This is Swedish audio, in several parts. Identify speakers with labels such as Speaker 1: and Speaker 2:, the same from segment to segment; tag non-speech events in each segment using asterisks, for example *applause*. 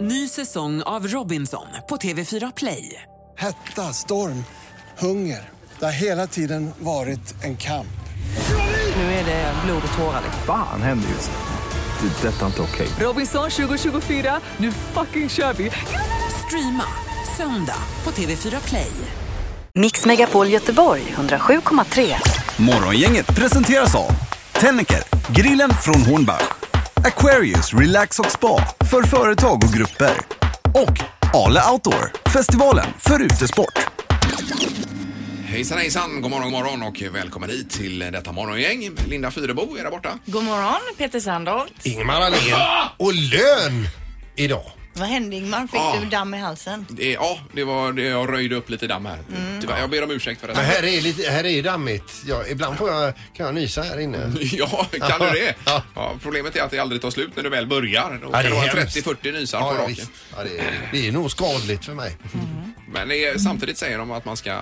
Speaker 1: Ny säsong av Robinson på TV4 Play.
Speaker 2: Hetta, storm, hunger. Det har hela tiden varit en kamp.
Speaker 1: Nu är det blod och tårar. liksom.
Speaker 3: Fan händer just nu. Det. är Detta är inte okej.
Speaker 1: Robinson 2024, nu fucking kör vi! Streama söndag på TV4 Play.
Speaker 4: Mix Megapol Göteborg 107,3.
Speaker 5: Morgongänget presenteras av Tennecker, grillen från Hornbach. Aquarius Relax och Spa för företag och grupper. Och Ale Outdoor, festivalen för utesport.
Speaker 6: Hejsan hejsan, god morgon, god morgon och välkommen hit till detta morgongäng. Linda Fyrebo är där borta.
Speaker 7: God morgon, Peter Sandholt.
Speaker 8: Ingemar Ahlén och lön idag.
Speaker 7: Vad hände Ingmar? Fick
Speaker 6: Ah.
Speaker 7: du damm i halsen?
Speaker 6: Det, ja, det var, det, jag röjde upp lite damm här. Tyvärr, jag ber om ursäkt för det.
Speaker 8: Mm. Men här är, lite, här är ju dammigt. Ja, ibland får jag, kan jag nysa här inne.
Speaker 6: *laughs* Ja, kan du det?
Speaker 8: Ja.
Speaker 6: Ja, problemet är att det aldrig tar slut när du väl börjar. Då
Speaker 8: Ja,
Speaker 6: kan det vara
Speaker 8: hemskt.
Speaker 6: 30-40 nysar
Speaker 8: ja,
Speaker 6: på
Speaker 8: ja,
Speaker 6: raken. Mm.
Speaker 8: visst. ja, det, är, det är nog skadligt för mig.
Speaker 6: Men det är, samtidigt säger de att man ska,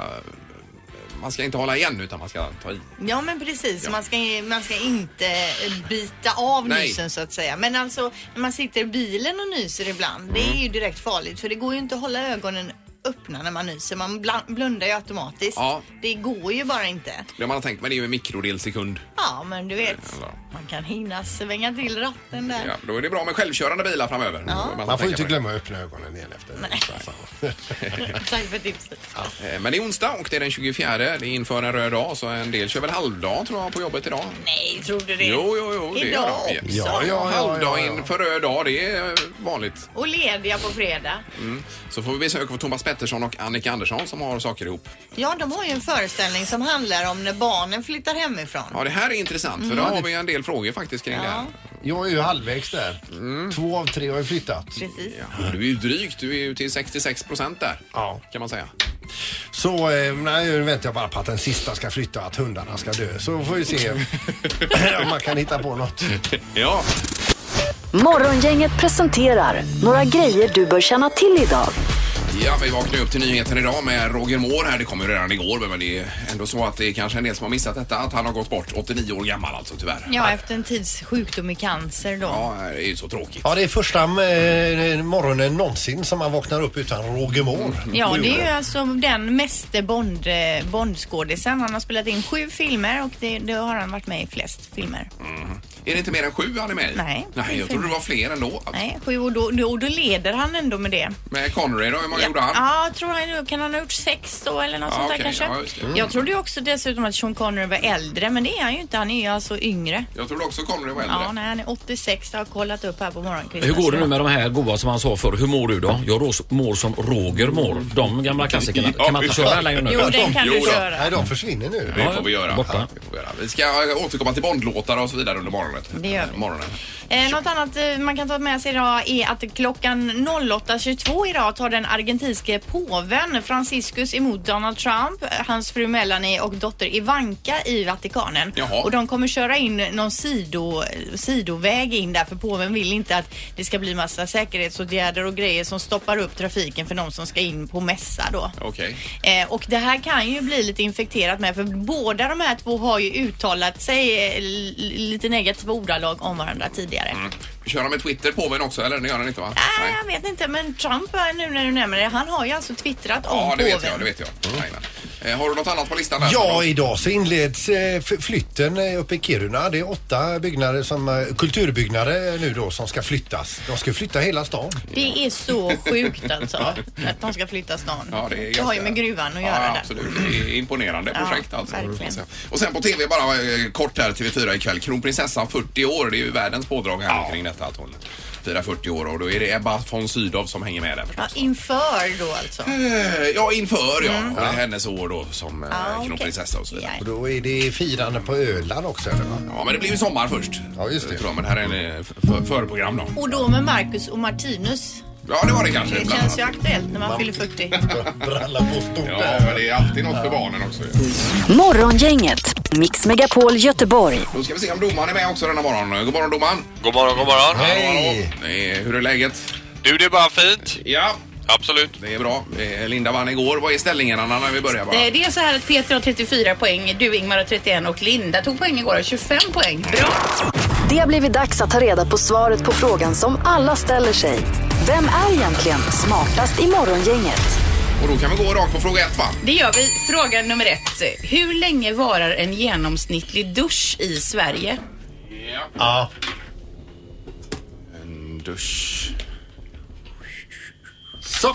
Speaker 6: man ska inte hålla igen utan man ska ta i.
Speaker 7: Ja men precis, Man, ska, man ska inte eh, bita av
Speaker 6: Nej.
Speaker 7: nysen så att säga. Men alltså när man sitter i bilen och nyser ibland, det
Speaker 6: Mm.
Speaker 7: är ju direkt farligt för det går ju inte att hålla ögonen öppna när man nyser. Man bla- blundar ju automatiskt.
Speaker 6: Ja.
Speaker 7: Det går ju bara inte.
Speaker 6: Det man har tänkt, men det är ju en mikrodel sekund.
Speaker 7: Ja men du vet,
Speaker 6: Ja.
Speaker 7: man kan hinna svänga till ratten där.
Speaker 6: Ja, då är det bra med självkörande bilar framöver.
Speaker 8: Man får ju
Speaker 6: tänka
Speaker 8: inte
Speaker 6: på det.
Speaker 8: glömma att öppna ögonen igen efter. Alltså.
Speaker 6: *laughs*
Speaker 7: *laughs* Tack för tipset.
Speaker 6: Eh, Men det är onsdag och det är den 24. Det är inför en röd dag så en del kör väl halvdag tror jag på jobbet idag.
Speaker 7: Nej, tror du det?
Speaker 6: Jo, jo, jo. Det
Speaker 7: Idag
Speaker 6: gör de.
Speaker 7: också.
Speaker 8: Ja, ja, ja,
Speaker 6: Halvdag
Speaker 8: ja, ja.
Speaker 6: inför röd dag, det är eh, vanligt.
Speaker 7: Och lediga på fredag.
Speaker 6: Så får vi besök av Thomas Pettersson och Annika Andersson som har saker ihop.
Speaker 7: Ja, de har ju en föreställning som handlar om när barnen flyttar hemifrån.
Speaker 6: Ja, det här är intressant för då har vi en del frågor faktiskt kring det här.
Speaker 8: Jag är ju halvvägs där.
Speaker 6: Mm.
Speaker 8: Två av tre har ju flyttat.
Speaker 7: Precis.
Speaker 6: Ja, du är ju drygt, du är ju till 66 procent där.
Speaker 8: Ja.
Speaker 6: Kan man säga.
Speaker 8: Så eh, nej, nu väntar jag bara på att den sista ska flytta, att hundarna ska dö. Så får vi
Speaker 6: *laughs*
Speaker 8: se om man kan hitta på något.
Speaker 6: Ja.
Speaker 4: Morgongänget presenterar några grejer du bör känna till idag.
Speaker 6: Ja, vi vaknade ju upp till nyheten idag med Roger Moore här. Det kom ju redan igår, men det är ändå så att det är kanske en del som har missat detta. Att han har gått bort, 89 år gammal alltså tyvärr.
Speaker 7: Ja, efter en tids sjukdom i cancer då.
Speaker 6: Ja, det är ju så tråkigt.
Speaker 8: Ja, det är första eh, morgonen någonsin som man vaknar upp utan Roger Moore.
Speaker 7: Ja, det är ju alltså den meste Bond, eh, Bondskådisen. Han har spelat in sju filmer och det, det har han varit med i flest filmer.
Speaker 6: Är det inte mer än sju han är med i?
Speaker 7: Nej.
Speaker 6: Nej, jag trodde det var fler ändå.
Speaker 7: Nej, sju och då, då, då leder han ändå med det.
Speaker 6: Med Connery då, hur många gjorde han?
Speaker 7: Ja, jag tror han, kan han ha gjort sex då eller något
Speaker 6: Ja,
Speaker 7: sånt där
Speaker 6: okej,
Speaker 7: kanske?
Speaker 6: ja, just det. Mm.
Speaker 7: Jag trodde ju också dessutom att Sean Connery var äldre, men det är han ju inte. Han är ju alltså yngre.
Speaker 6: Jag trodde också Connery var äldre.
Speaker 7: Ja, nej, han är 86. Jag har kollat upp här på morgonkvisten.
Speaker 9: Hur går det nu med de här goa som han sa förr? Hur mår du då? Jag rås- mår som Roger mår. De gamla klassikerna.
Speaker 6: Ja,
Speaker 9: Kan man inte
Speaker 6: visst.
Speaker 9: köra den längre nu?
Speaker 7: Jo, den kan du
Speaker 6: Jo då.
Speaker 7: köra.
Speaker 8: Nej, de försvinner nu.
Speaker 6: Det får vi göra.
Speaker 9: Borta.
Speaker 6: Ja, det får vi göra. Vi ska eh, återkomma till Bondlåtar och så vidare under morgonen.
Speaker 7: Det gör vi.
Speaker 6: morgonen.
Speaker 7: Eh, något annat eh, man kan ta med sig idag är att klockan 08.22 idag tar den argentinske påven Franciscus emot Donald Trump, eh, hans fru Melanie och dotter Ivanka i Vatikanen.
Speaker 6: Jaha.
Speaker 7: Och de kommer köra in någon sido, eh, sidoväg in där för påven vill inte att det ska bli massa säkerhetsåtgärder och grejer som stoppar upp trafiken för de som ska in på mässa då.
Speaker 6: Okej.
Speaker 7: Eh, och det här kan ju bli lite infekterat med för båda de här två har ju uttalat sig eh, l- lite negativa ordalag om varandra tidigare.
Speaker 6: Mm. Kör han med Twitter påven också eller? Det gör han inte va?
Speaker 7: Nej, jag vet inte men Trump eh, nu när du nämner det, han har ju alltså twittrat om
Speaker 6: Ja, det
Speaker 7: påven.
Speaker 6: vet jag. Det vet jag. Jajamän. Eh, har du något annat på listan? Där?
Speaker 8: Ja, idag så inleds eh, f- flytten eh, uppe i Kiruna. Det är åtta byggnader som, eh, kulturbyggnader eh, nu då som ska flyttas. De ska flytta hela stan.
Speaker 7: Det är så sjukt alltså att de ska flytta stan.
Speaker 6: Ja, det, är ganska...
Speaker 7: har ju med gruvan att
Speaker 6: ja,
Speaker 7: göra där.
Speaker 6: absolut. Det är imponerande
Speaker 7: Ja,
Speaker 6: projekt alltså.
Speaker 7: verkligen.
Speaker 6: Och sen på TV bara eh, kort här, TV4 ikväll. Kronprinsessan 40 år, det är ju världens pådrag här kring detta att hon firar 40 år och då är det Ebba von Sydow som hänger med där förstås.
Speaker 7: Ja, inför då alltså.
Speaker 6: Eh, Ja, inför ja. Och det är hennes år då som eh,
Speaker 7: okej.
Speaker 6: kronprinsessa och så vidare.
Speaker 7: Ja.
Speaker 8: Och då är det firande på Öland också. Eller va?
Speaker 6: Ja, men det blir ju sommar först.
Speaker 8: Ja, just det.
Speaker 6: Tror jag, men här är en eh, f- f- förprogram då.
Speaker 7: Och då med Marcus och Martinus.
Speaker 6: Ja, det var det kanske.
Speaker 7: Det
Speaker 6: bland
Speaker 7: känns ju
Speaker 6: annat.
Speaker 7: aktuellt när man fyller 40.
Speaker 8: *laughs* Bralla på stort
Speaker 6: Ja, men
Speaker 8: där.
Speaker 6: det är alltid något för barnen också. ju.
Speaker 4: Morgongänget, Mix Megapol Göteborg.
Speaker 6: Då ska vi se om domaren är med också denna morgon. God morgon domaren.
Speaker 10: God morgon, god morgon.
Speaker 8: Hej!
Speaker 6: Eh, Hur är läget?
Speaker 10: Du, det är bara fint.
Speaker 6: Ja,
Speaker 10: Absolut.
Speaker 6: det är bra. Eh, Linda vann igår. Vad är ställningen Anna när vi börjar bara?
Speaker 11: Eh, Det är så här att Peter har 34 poäng, du Ingmar har 31 och Linda tog poäng igår har 25 poäng. Bra!
Speaker 4: Det har blivit dags att ta reda på svaret på frågan som alla ställer sig. Vem är egentligen smartast i Morgongänget?
Speaker 6: Och då kan vi gå rakt på fråga ett va?
Speaker 11: Det gör vi. Fråga nummer ett. Hur länge varar en genomsnittlig dusch i Sverige?
Speaker 8: Ja.
Speaker 6: En dusch. Så.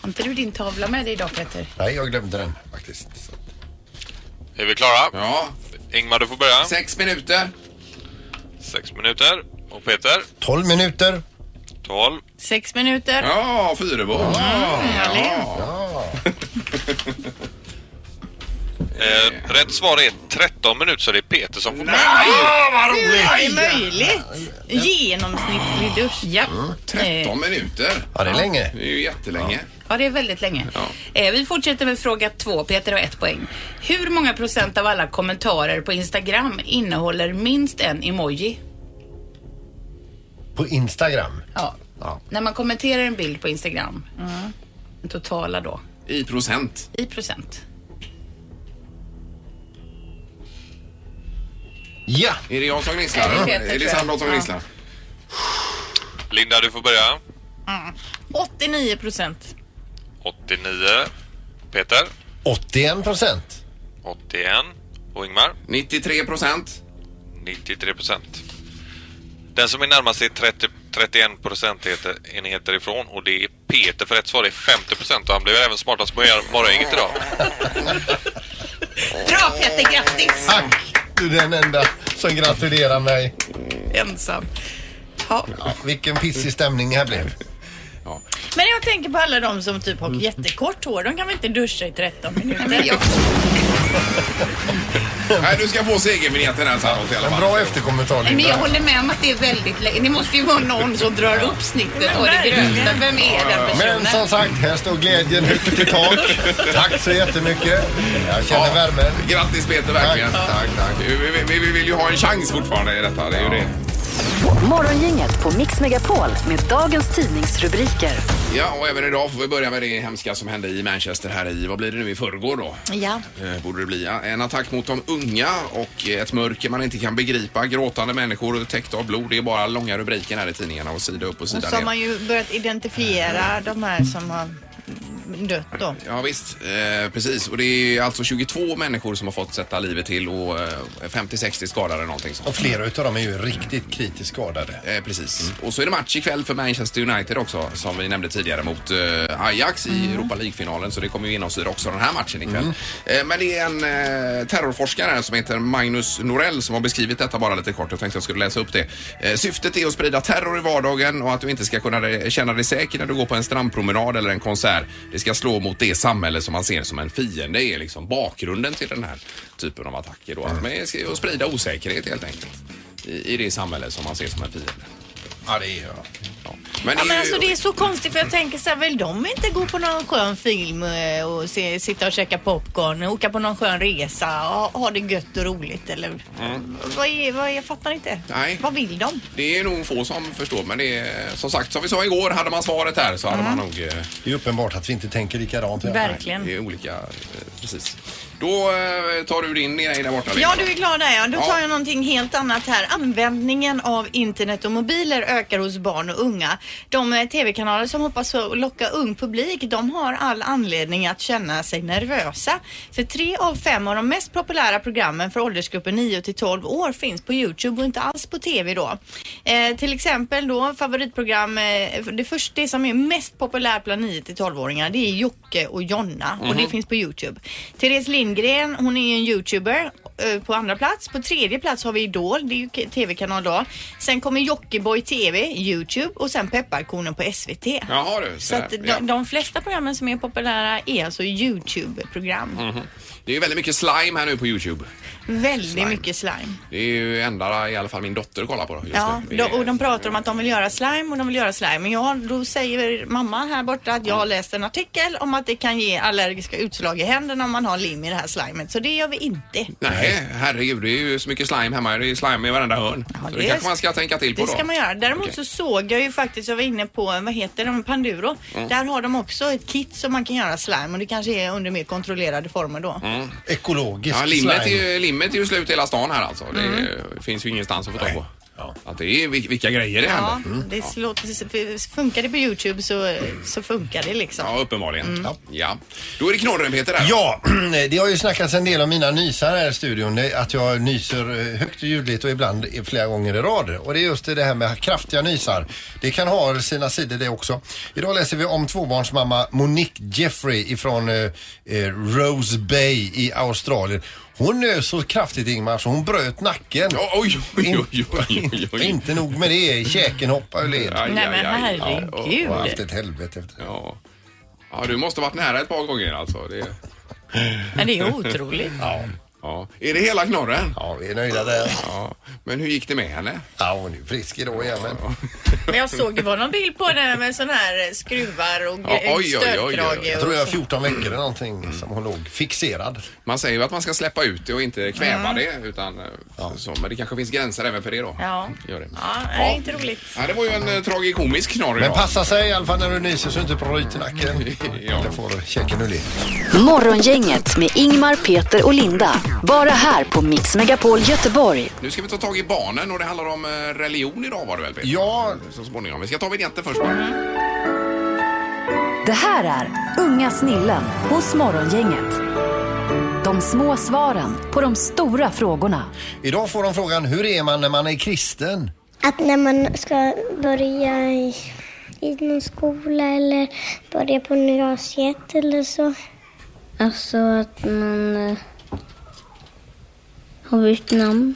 Speaker 11: Har inte du din tavla med dig idag Peter?
Speaker 8: Nej, jag glömde den faktiskt.
Speaker 10: Är vi klara?
Speaker 6: Ja.
Speaker 10: Ingmar, du får börja.
Speaker 6: Sex minuter.
Speaker 10: Sex minuter. Och Peter?
Speaker 8: 12 minuter.
Speaker 10: Tolv.
Speaker 7: Sex minuter.
Speaker 6: Ja, Fyrebo.
Speaker 11: Mm,
Speaker 10: Eh, rätt svar är 13 minuter så det är Peter som får
Speaker 6: Mm.
Speaker 10: poäng.
Speaker 6: vad
Speaker 7: Hur är det möjligt? Genomsnittlig dusch.
Speaker 11: Ja.
Speaker 6: 13 minuter.
Speaker 8: Ja, det är länge.
Speaker 6: Det är ju jättelänge.
Speaker 11: Ja, det är väldigt länge. Eh, vi fortsätter med fråga två. Peter har ett poäng. Hur många procent av alla kommentarer på Instagram innehåller minst en emoji?
Speaker 8: På Instagram.
Speaker 11: Ja.
Speaker 8: Ja.
Speaker 11: När man kommenterar en bild på Instagram. Den totala då.
Speaker 6: I procent.
Speaker 11: I procent.
Speaker 8: Ja.
Speaker 6: Är det jag som
Speaker 11: Nej, det är
Speaker 6: gnisslar?
Speaker 11: Peter,
Speaker 6: Är
Speaker 11: tror
Speaker 6: det
Speaker 11: jag.
Speaker 6: Sandra som
Speaker 11: Ja.
Speaker 6: gnisslar?
Speaker 10: Linda, du får börja.
Speaker 7: 89 procent.
Speaker 10: 89. Peter?
Speaker 8: 81 procent.
Speaker 10: 81. Och Ingmar?
Speaker 6: 93 procent.
Speaker 10: 93 procent. Den som är närmast är 30, 31 procentenheter ifrån och det är Peter för rätt svar är 50 procent och han blev även smartast på er- morgongänget idag.
Speaker 11: Bra Peter, grattis!
Speaker 8: Tack! Du är den enda som gratulerar mig.
Speaker 11: Ensam. Ja.
Speaker 8: Ja, vilken pissig stämning det här blev.
Speaker 7: Men jag tänker på alla de som typ har jättekort hår. De kan väl inte duscha i 13 minuter?
Speaker 11: Jag,
Speaker 6: Nej, du ska få segervinjetten här Sandholt i alla
Speaker 8: En
Speaker 6: fall.
Speaker 8: bra efterkommentar
Speaker 11: men jag
Speaker 8: Linda.
Speaker 11: håller med om att det är väldigt länge. Det måste ju vara någon som drar upp snittet och det gröna. Vem är den
Speaker 8: Men som
Speaker 11: personen?
Speaker 8: sagt, här står glädjen högt i tak. Tack så jättemycket. Jag känner värmen.
Speaker 6: Grattis Peter verkligen.
Speaker 8: Tack, tack, tack.
Speaker 6: Vi, vi, vi- vi vill ju ha en chans fortfarande i detta. Det är ju det.
Speaker 4: Morgongänget på Mix Megapol med dagens tidningsrubriker.
Speaker 6: Ja, och även idag får vi börja med det hemska som hände i Manchester här i, vad blir det nu, i förrgår då?
Speaker 7: Ja.
Speaker 6: Eh, Borde det bli. ja. En attack mot de unga och ett mörker man inte kan begripa. Gråtande människor täckta av blod. Det är bara långa rubriker här i tidningarna och sida upp och
Speaker 7: Och
Speaker 6: sida
Speaker 7: så har
Speaker 6: ner.
Speaker 7: man ju börjat identifiera de här som har dött då.
Speaker 6: Ja visst, eh, precis. Och det är alltså 22 människor som har fått sätta livet till och eh, 50-60 skadade någonting sånt.
Speaker 8: Och flera utav dem är ju riktigt kritiskt skadade.
Speaker 6: Eh, precis. Och så är det match ikväll för Manchester United också som vi nämnde tidigare mot eh, Ajax i Europa League-finalen så det kommer ju genomsyra också den här matchen ikväll. Eh, men det är en eh, terrorforskare här som heter Magnus Norell som har beskrivit detta bara lite kort. Jag tänkte jag skulle läsa upp det. Eh, syftet är att sprida terror i vardagen och att du inte ska kunna re- känna dig säker när du går på en strandpromenad eller en konsert. Det ska slå mot det samhälle som man ser som en fiende. Det är liksom bakgrunden till den här typen av attacker då. Att man ska- att sprida osäkerhet helt enkelt i, i det samhälle som man ser som en fiende.
Speaker 8: Ja, det är jag.
Speaker 6: Ja. Men,
Speaker 7: Ja,
Speaker 6: det
Speaker 7: men
Speaker 6: är ju-
Speaker 7: alltså det är så konstigt för jag tänker så här, vill de inte gå på någon skön film eh, och se, sitta och käka popcorn, åka på någon skön resa och ha det gött och roligt eller? Vad är, vad är, jag fattar inte.
Speaker 6: Mm. Nej.
Speaker 7: Vad vill de?
Speaker 6: det är nog få som förstår men det är som sagt som vi sa igår hade man svaret här så hade man nog eh,
Speaker 8: Det är uppenbart att vi inte tänker likadant.
Speaker 7: Verkligen.
Speaker 6: det är olika. eh, Precis. Då eh, tar du din grej där borta.
Speaker 7: Ja,
Speaker 6: Linda.
Speaker 7: du är klar där ja. Då
Speaker 6: Ja.
Speaker 7: tar jag någonting helt annat här. Användningen av internet och mobiler ökar hos barn och unga. De eh, tv-kanaler som hoppas få locka ung publik, de har all anledning att känna sig nervösa. För tre av fem av de mest populära programmen för åldersgruppen 9 till 12 år finns på Youtube och inte alls på tv då. Eh, till exempel då favoritprogram, eh, det, först, det som är mest populärt bland 9 till 12-åringar det är Jocke och Jonna och det finns på Youtube. Therese Lindgren, hon är ju en youtuber eh, på andra plats. På tredje plats har vi Idol, det är ju k- tv-kanal då. Sen kommer Jockiboi TV, Youtube och sen Pepparkornen på SVT.
Speaker 6: Jaha du.
Speaker 7: Så att
Speaker 6: där,
Speaker 7: de,
Speaker 6: ja.
Speaker 7: de flesta programmen som är populära är alltså Youtube-program.
Speaker 6: Det är ju väldigt mycket slime här nu på Youtube.
Speaker 7: Väldigt mycket slime.
Speaker 6: Det är ju enda i alla fall min dotter kollar på. Just
Speaker 7: Ja,
Speaker 6: nu.
Speaker 7: de,
Speaker 6: Det är-
Speaker 7: och de pratar om att de vill göra slime och de vill göra slime. Men jag, då säger mamma här borta att jag har läst en artikel om att det kan ge allergiska utslag i händerna om man har lim i det här slimet. Så det gör vi inte.
Speaker 6: Nej, herregud det är ju så mycket slime hemma. Det är slime i varenda hörn. så det,
Speaker 7: det-
Speaker 6: kanske man ska tänka till på
Speaker 7: Det
Speaker 6: då.
Speaker 7: ska man göra. Däremot
Speaker 6: Okej.
Speaker 7: så såg jag ju faktiskt, jag var inne på, vad heter de, Panduro. Där har de också ett kit som man kan göra slime och det kanske är under mer kontrollerade former då.
Speaker 8: Ekologisk
Speaker 6: Ja, limmet är,
Speaker 8: slime.
Speaker 6: ju, limmet är ju slut i hela stan här alltså. Det är- finns ju ingenstans att få tag på. Att det är, vil- vilka grejer det
Speaker 7: Mm. Ja,
Speaker 6: händer. Mm.
Speaker 7: det slår, funkar det på Youtube så, så funkar det liksom.
Speaker 6: Ja, uppenbarligen. Ja. Då är det knorren Peter där.
Speaker 8: Ja, *clears throat* det har ju snackats en del om mina nysar här i studion. eh, Att jag nyser eh, högt och ljudligt och ibland i- flera gånger i rad. Och det är just det här med kraftiga nysar. Det kan ha sina sidor det också. Idag läser vi om tvåbarnsmamma Monique Jeffrey ifrån eh, eh, Rose Bay i Australien. Hon nös så kraftigt Ingmar så hon bröt nacken.
Speaker 6: Oj, oj, oj, oj, oj, oj.
Speaker 8: Inte nog med det, käken hoppar ur led.
Speaker 6: Aj,
Speaker 7: Nej, men
Speaker 6: aj, aj.
Speaker 7: herregud.
Speaker 8: Och har haft ett helvete efter.
Speaker 6: Ja. ja, du måste ha varit nära ett par gånger alltså. Det...
Speaker 7: Men det är otroligt.
Speaker 8: Ja.
Speaker 6: Ja. Är det hela knorren?
Speaker 8: ja, vi är nöjda där.
Speaker 6: Ja. Men hur gick det med henne?
Speaker 8: Ja, hon är frisk idag igen. Men...
Speaker 7: Men jag såg det var någon bild på henne med sån här skruvar och
Speaker 6: Ja, oj, oj, oj, oj.
Speaker 7: stötkrage.
Speaker 8: Jag
Speaker 7: och
Speaker 8: tror jag var
Speaker 7: så.
Speaker 8: 14 veckor eller någonting
Speaker 6: Mm.
Speaker 8: som hon låg fixerad.
Speaker 6: Man säger ju att man ska släppa ut det och inte
Speaker 7: Mm.
Speaker 6: kväva det. Utan, eh, så, men det kanske finns gränser även för det då.
Speaker 7: Ja.
Speaker 6: Gör det.
Speaker 7: Ja, det är inte roligt.
Speaker 6: Ja, det var ju en eh, tragikomisk knorr
Speaker 8: Men
Speaker 6: idag.
Speaker 8: passa sig i alla fall när du nyser så du inte bryter nacken.
Speaker 6: *laughs* Ja.
Speaker 8: Eller får käken ur led.
Speaker 4: Morgongänget med Ingmar, Peter och Linda. Bara här på Mix Megapol Göteborg.
Speaker 6: Nu ska vi ta tag i barnen och det handlar om eh, religion idag var det väl Peter?
Speaker 8: Ja,
Speaker 6: Så småningom. Vi ska ta vignetten först bara.
Speaker 7: Mm.
Speaker 4: Det här är Unga snillen hos Morgongänget. De små svaren på de stora frågorna.
Speaker 8: idag får de frågan hur är man när man är kristen?
Speaker 12: Att när man ska börja i, i någon skola eller börja på gymnasiet eller så. Alltså att man har bytt namn.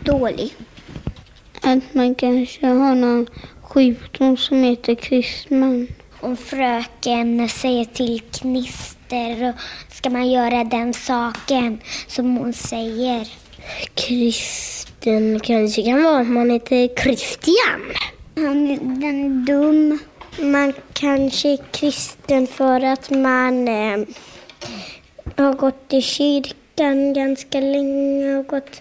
Speaker 12: Dålig. Att man kanske har någon sjukdom som heter kristman. Om fröken säger till knister och ska man göra den saken som hon säger. Kristen kanske kan vara att man heter Christian. Han är den dum. Man kanske är kristen för att man eh, har gått i kyrkan ganska länge och gått,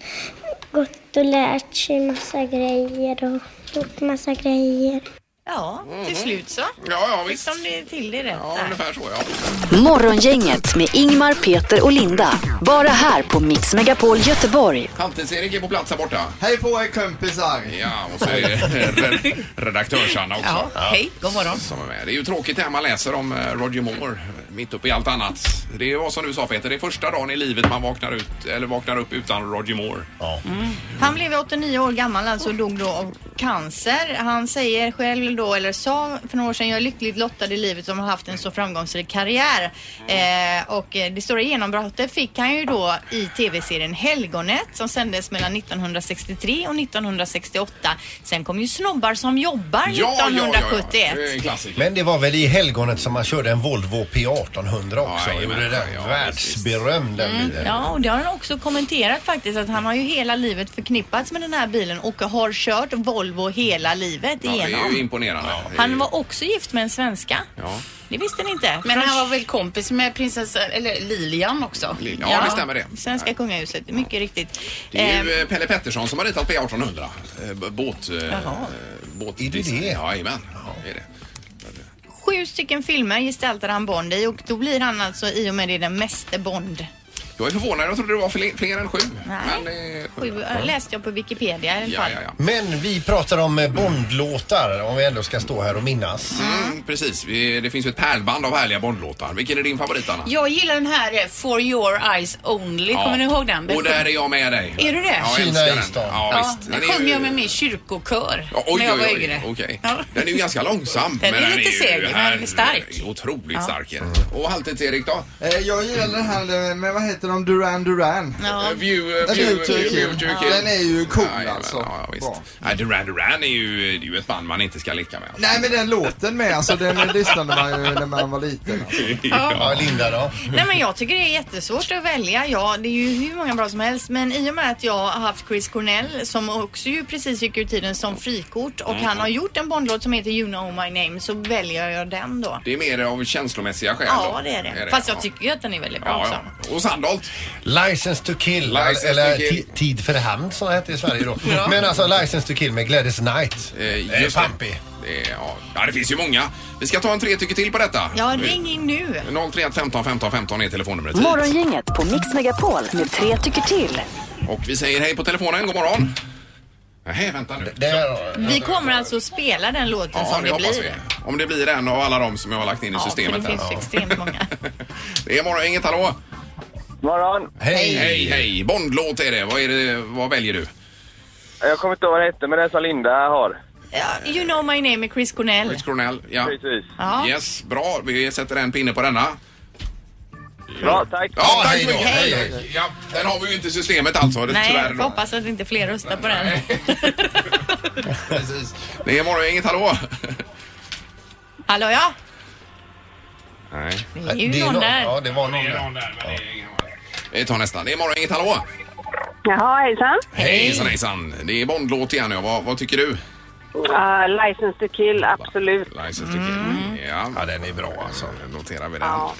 Speaker 12: gått och lärt sig massa grejer och gjort massa grejer.
Speaker 7: Ja, till slut så.
Speaker 6: Ja, ja
Speaker 7: Fick
Speaker 6: Mm-hmm. visst.
Speaker 7: de det till det rätt
Speaker 6: Ja,
Speaker 7: där.
Speaker 6: ungefär så ja.
Speaker 4: Morgongänget med Ingmar, Peter och Linda. Bara här på Mix Megapol Göteborg.
Speaker 6: Halvtids-Erik är på plats här borta.
Speaker 13: Hej på er kompisar!
Speaker 6: Ja, och så är
Speaker 13: *laughs*
Speaker 6: det red- redaktörs-Anna också.
Speaker 11: Ja, hej, god morgon.
Speaker 6: som är med. Det är ju tråkigt det här man läser om eh, Roger Moore eh, mitt uppe i allt annat. Det var som du sa Peter, det är första dagen i livet man vaknar, ut, eller vaknar upp utan Roger Moore.
Speaker 7: Han blev 89 år gammal alltså och dog då av cancer. Han säger själv då, eller sa för några år sedan, jag är lyckligt lottad i livet som har haft en så framgångsrik karriär. Eh, och eh, det stora genombrottet fick han ju då i tv-serien Helgonet som sändes mellan 1963 och 1968. Sen kom ju Snobbar som jobbar 1971.
Speaker 6: ja, ja. Det är en klassiker.
Speaker 8: Men det var väl i helgonet som man körde en Volvo P1800 också.
Speaker 6: Ja,
Speaker 8: Ja,
Speaker 6: jajamän.
Speaker 8: gjorde den
Speaker 6: Ja,
Speaker 8: världsberömd den bilen.
Speaker 7: Ja, och det har han också kommenterat faktiskt att han har ju hela livet förknippats med den här bilen och har kört Volvo hela livet
Speaker 6: Ja, det är
Speaker 7: igenom.
Speaker 6: ju imponerande. Det är ju-
Speaker 7: Han var också gift med en svenska.
Speaker 6: Ja.
Speaker 7: Det visste ni inte.
Speaker 11: Men
Speaker 7: Från-
Speaker 11: han var väl kompis med prinsessan, eller Lilian också?
Speaker 6: Ja, det stämmer det.
Speaker 7: Svenska kungahuset, mycket riktigt.
Speaker 6: Det är
Speaker 7: Eh,
Speaker 11: Ehm.
Speaker 6: ju eh, Pelle Pettersson som har ritat P1800. Eh, b- Båt... eh, båt
Speaker 8: Är det det?
Speaker 6: Ja, jajamän. Det är det.
Speaker 7: Sju stycken filmer gestaltar han Bond i och då blir han alltså i och med det den meste Bond.
Speaker 6: Jag är förvånad, jag trodde det var fler, fler än sju.
Speaker 7: Nej.
Speaker 6: Men det är
Speaker 7: Sju, eh, läste jag på Wikipedia i alla
Speaker 6: Ja,
Speaker 7: fall.
Speaker 6: ja, ja.
Speaker 8: Men vi pratar om eh, Bondlåtar om vi ändå ska stå här och minnas.
Speaker 6: Mm, precis, Vi- det finns ju ett pärlband av härliga Bondlåtar. Vilken är din favorit, Anna?
Speaker 11: Jag gillar den här eh, For your eyes only. Kommer ni ihåg den?
Speaker 6: Och där är jag med dig.
Speaker 11: Är du det?
Speaker 6: Ja, jag
Speaker 8: Kina
Speaker 6: älskar
Speaker 8: i
Speaker 6: den.
Speaker 8: stan.
Speaker 6: Ja,
Speaker 11: Ja,
Speaker 6: visst.
Speaker 11: den
Speaker 6: är
Speaker 11: sjöng
Speaker 6: ju-
Speaker 11: jag med min kyrkokör
Speaker 6: Ja, Oj,
Speaker 11: när jag var
Speaker 6: oj,
Speaker 11: yngre.
Speaker 6: oj. Okej.
Speaker 11: Ja.
Speaker 6: Den är ju ganska långsam.
Speaker 11: Den är
Speaker 6: men
Speaker 11: lite
Speaker 6: ju
Speaker 11: seg, men
Speaker 6: här-
Speaker 11: stark.
Speaker 6: Otroligt
Speaker 11: Ja.
Speaker 6: stark. är den.
Speaker 8: Mm.
Speaker 6: Och Halvtids-Erik då?
Speaker 13: Eh, Jag gillar den här eh, med, vad heter de, Duran Duran?
Speaker 7: Ja.
Speaker 6: Eh, View, eh,
Speaker 13: Den är
Speaker 6: view,
Speaker 13: ju
Speaker 6: view,
Speaker 13: kul.
Speaker 6: view, view, kill.
Speaker 13: Den är ju cool
Speaker 6: Ja, jajamän.
Speaker 13: alltså.
Speaker 6: Ja, ja, visst.
Speaker 13: Bra.
Speaker 6: Nej, Duran Duran är ju, det är ju ett band man inte ska leka med. *laughs* Alltså.
Speaker 13: Nej men den låten med alltså, den lyssnade man ju när man var liten. Alltså.
Speaker 8: Ja, Linda då?
Speaker 7: Nej men jag tycker det är jättesvårt att välja. Ja, det är ju hur många bra som helst. Men i och med att jag har haft Chris Cornell som också ju precis gick ur tiden som frikort och
Speaker 6: Mm.
Speaker 7: han har gjort en Bondlåt som heter You know my name så väljer jag den då.
Speaker 6: Det är mer av känslomässiga skäl.
Speaker 7: Ja,
Speaker 6: då.
Speaker 7: det är det. Fast jag
Speaker 6: Ja.
Speaker 7: tycker ju att den är väldigt bra också.
Speaker 6: Ja, ja. Och Sandholt.
Speaker 8: License to kill,
Speaker 6: License
Speaker 8: eller
Speaker 6: to kill.
Speaker 8: Ti- Tid för hämnd som det hette i Sverige
Speaker 6: *laughs*
Speaker 8: då. Men alltså License to kill med Gladys Knight.
Speaker 6: Eh,
Speaker 8: Eh,
Speaker 6: just
Speaker 8: Pampig.
Speaker 6: det. Det är- ja. ja, det finns ju många. Vi ska ta en tre tycker till på detta.
Speaker 7: Ja, ring in nu.
Speaker 6: 031 15 15 15 är telefonnumret hit.
Speaker 4: Morgongänget på Mix Megapol med tre tycker till.
Speaker 6: Och vi säger hej på telefonen. God morgon. Nej, vänta nu.
Speaker 7: Vi kommer alltså spela den låten
Speaker 6: Ja,
Speaker 7: som
Speaker 6: det
Speaker 7: det
Speaker 6: hoppas vi.
Speaker 7: blir.
Speaker 6: Om det blir en av alla de som jag har lagt in i
Speaker 7: Ja, för
Speaker 6: systemet.
Speaker 7: det
Speaker 6: här.
Speaker 7: finns
Speaker 6: Ja.
Speaker 7: extremt
Speaker 6: *laughs*
Speaker 7: många.
Speaker 6: Det är morgon, inget hallå?
Speaker 14: Morgon.
Speaker 6: Hej, hej, hej. Bondlåt är det. Vad, är det. vad väljer du?
Speaker 14: Jag kommer inte ihåg vad det hette, men det är som Linda har.
Speaker 7: Ja, you know my name är Chris Cornell.
Speaker 6: Cornell, ja. Precis.
Speaker 7: Ja.
Speaker 6: Yes, bra. Vi sätter en pinne på denna.
Speaker 14: Bra, tack.
Speaker 6: Ja, tack
Speaker 14: Hej
Speaker 6: så
Speaker 14: då,
Speaker 6: mycket.
Speaker 14: hej,
Speaker 6: Ja, den har vi ju inte i systemet alltså. Det,
Speaker 7: Nej,
Speaker 6: tyvärr
Speaker 7: jag
Speaker 6: då.
Speaker 7: hoppas att inte fler röstar på den.
Speaker 6: Det är morgon, inget hallå?
Speaker 7: Hallå ja?
Speaker 6: Nej.
Speaker 7: Det är ju Det är någon någon- där. ja,
Speaker 6: det var någon där. men det är ingen där. Vi tar nästa. Det är morgon, inget hallå?
Speaker 15: Jaha, hejsan.
Speaker 6: Hejsan, hejsan. Det är Bondlåt igen. nu. Vad, vad tycker du?
Speaker 15: Uh, license to kill, absolut. Mm.
Speaker 6: License to kill. Ja. den är bra alltså. Noterar vi den. Ja.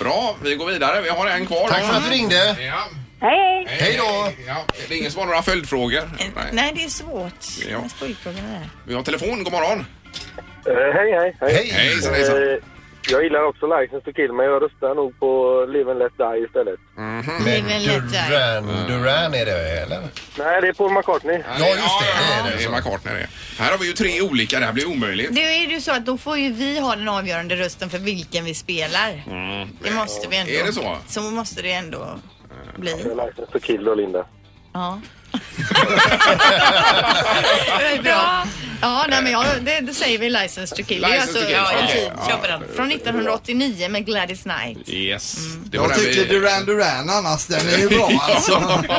Speaker 6: Bra, vi går vidare. Vi har en kvar.
Speaker 8: Tack för att du ringde.
Speaker 6: Ja.
Speaker 15: Hej!
Speaker 8: Hej då.
Speaker 6: Ja, det är ingen som har några följdfrågor. Nej.
Speaker 7: Eh, Nej, det är svårt.
Speaker 6: Ja.
Speaker 7: Med skuldfrågorna där.
Speaker 6: Vi har telefon. God morgon.
Speaker 14: Eh, hej, hej, hej.
Speaker 6: Hej. Hejsan, hejsan.
Speaker 14: Eh, jag gillar också License to kill, men jag röstar nog på Live and Let Die istället.
Speaker 6: Mm.
Speaker 8: Med Duran, Duran är det eller?
Speaker 14: Nej, det är Paul McCartney.
Speaker 8: Ja, just det.
Speaker 6: Ja, det är McCartney det. Här har vi ju tre olika. Det här blir omöjligt.
Speaker 7: Det är ju så att då får ju vi ha den avgörande rösten för vilken vi spelar. Det måste vi ändå.
Speaker 6: Mm. Är det så? Mm.
Speaker 7: Så måste det ändå bli.
Speaker 14: License to kill och Linda.
Speaker 6: *laughs*
Speaker 7: Ja. det är bra. Ja, nej, men jag, det, det säger vi License to kill. Det är
Speaker 6: License to
Speaker 7: alltså,
Speaker 6: kill,
Speaker 7: ja,
Speaker 6: okej.
Speaker 7: jag
Speaker 6: Ja.
Speaker 7: köper den. Från 1989 med Gladys Knight.
Speaker 6: Yes. Det var
Speaker 13: Jag
Speaker 6: den vi-
Speaker 13: tycker Duran Duran annars, den är ju
Speaker 14: *laughs*
Speaker 13: bra alltså.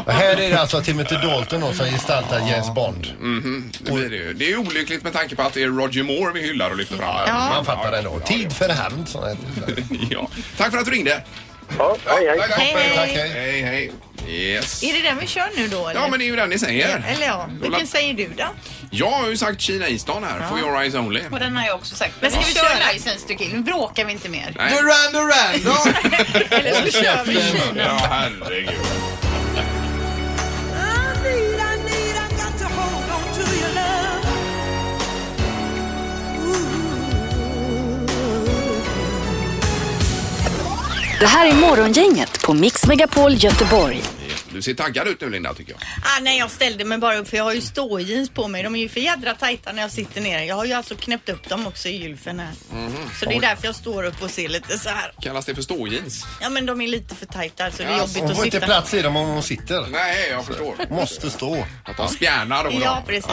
Speaker 8: Och här är det alltså Timothy Dalton då, som gestaltar James Bond.
Speaker 6: Mhm, det, blir det, ju. det är ju olyckligt med tanke på att det är Roger Moore vi hyllar och lyfter fram.
Speaker 8: Ja. Man fattar ändå. Tid för hand.
Speaker 6: *laughs* ja. Tack för att du ringde.
Speaker 14: Ja, hej, hej.
Speaker 7: Hej, hej.
Speaker 6: Tack, hej. hej, hej. Yes.
Speaker 7: Är det den vi kör nu då? Eller?
Speaker 6: Ja, men det är ju den ni säger.
Speaker 7: Eller ja, vilken säger du då?
Speaker 6: Jag har ju sagt Kina Easton här,
Speaker 7: Ja.
Speaker 6: For your eyes only.
Speaker 11: Och den har jag också sagt.
Speaker 7: Men ska vi köra
Speaker 11: License to kill? Nu bråkar vi inte mer.
Speaker 6: Nej.
Speaker 13: Duran Duran då!
Speaker 7: Eller så kör vi Kina.
Speaker 6: *laughs* Ja, herregud.
Speaker 4: Det här är Morgongänget på Mix Megapol Göteborg.
Speaker 6: Du ser taggad ut nu, Linda, tycker jag.
Speaker 7: Ah, nej, jag ställde mig bara upp för jag har ju ståjeans på mig. De är ju för jädra tajta när jag sitter ner. Jag har ju alltså knäppt upp dem också i gylfen här. Så det är därför jag står upp och ser lite så här.
Speaker 6: Kallas det för ståjeans?
Speaker 7: Ja, men de är lite för tajta så det är
Speaker 6: Ja,
Speaker 7: jobbigt
Speaker 8: Hon
Speaker 7: att
Speaker 8: får inte
Speaker 7: sitta.
Speaker 8: plats i dem om hon sitter.
Speaker 6: Nej, jag förstår.
Speaker 8: Måste stå.
Speaker 6: Att de spjärnar då.
Speaker 7: Ja, precis.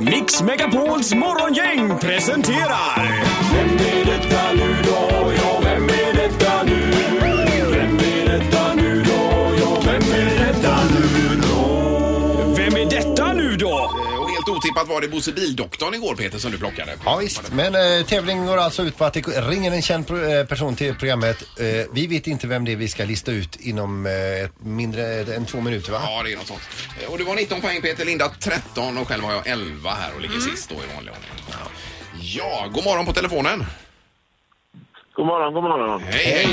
Speaker 16: Mix Megapols morgongäng presenterar... Vem är detta nu då? Ja, vem är detta nu? Vem är detta nu då? Ja, vem är detta nu då? Vem är detta nu då?
Speaker 6: Eh, Och helt otippat var det Bosse Bildoktorn igår, Peter, som du plockade.
Speaker 8: Ja, visst. Men eh, tävlingen går alltså ut på att det ringer en känd pro- eh, person till programmet. Eh, vi vet inte vem det är vi ska lista ut inom eh, ett mindre än två minuter va?
Speaker 6: Ja, det är något sånt. Eh, Och du var 19 poäng Peter, Linda 13 och själv har jag 11 här och ligger sist då i vanlig ordning. Ja, god morgon på telefonen.
Speaker 14: God morgon, god morgon.
Speaker 6: Hej,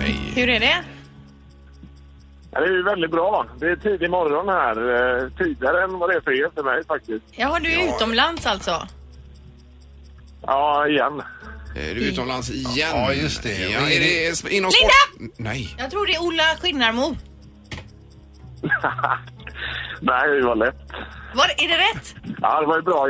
Speaker 6: hej.
Speaker 7: Hur är det?
Speaker 14: Ja, Det är ju väldigt bra. Det är tidig morgon här. eh, Tidigare än vad det är för er för mig faktiskt.
Speaker 7: Jaha, du är utomlands alltså?
Speaker 14: Ja, igen.
Speaker 6: Är du utomlands igen?
Speaker 8: Ja, just det.
Speaker 6: Ja, är det sp- inom
Speaker 7: Linda!
Speaker 6: sport? Nej.
Speaker 7: Jag tror det är Ola Skinnarmo.
Speaker 14: Nej, det var lätt.
Speaker 7: Var, är det rätt?
Speaker 14: Ja, det var ju bra.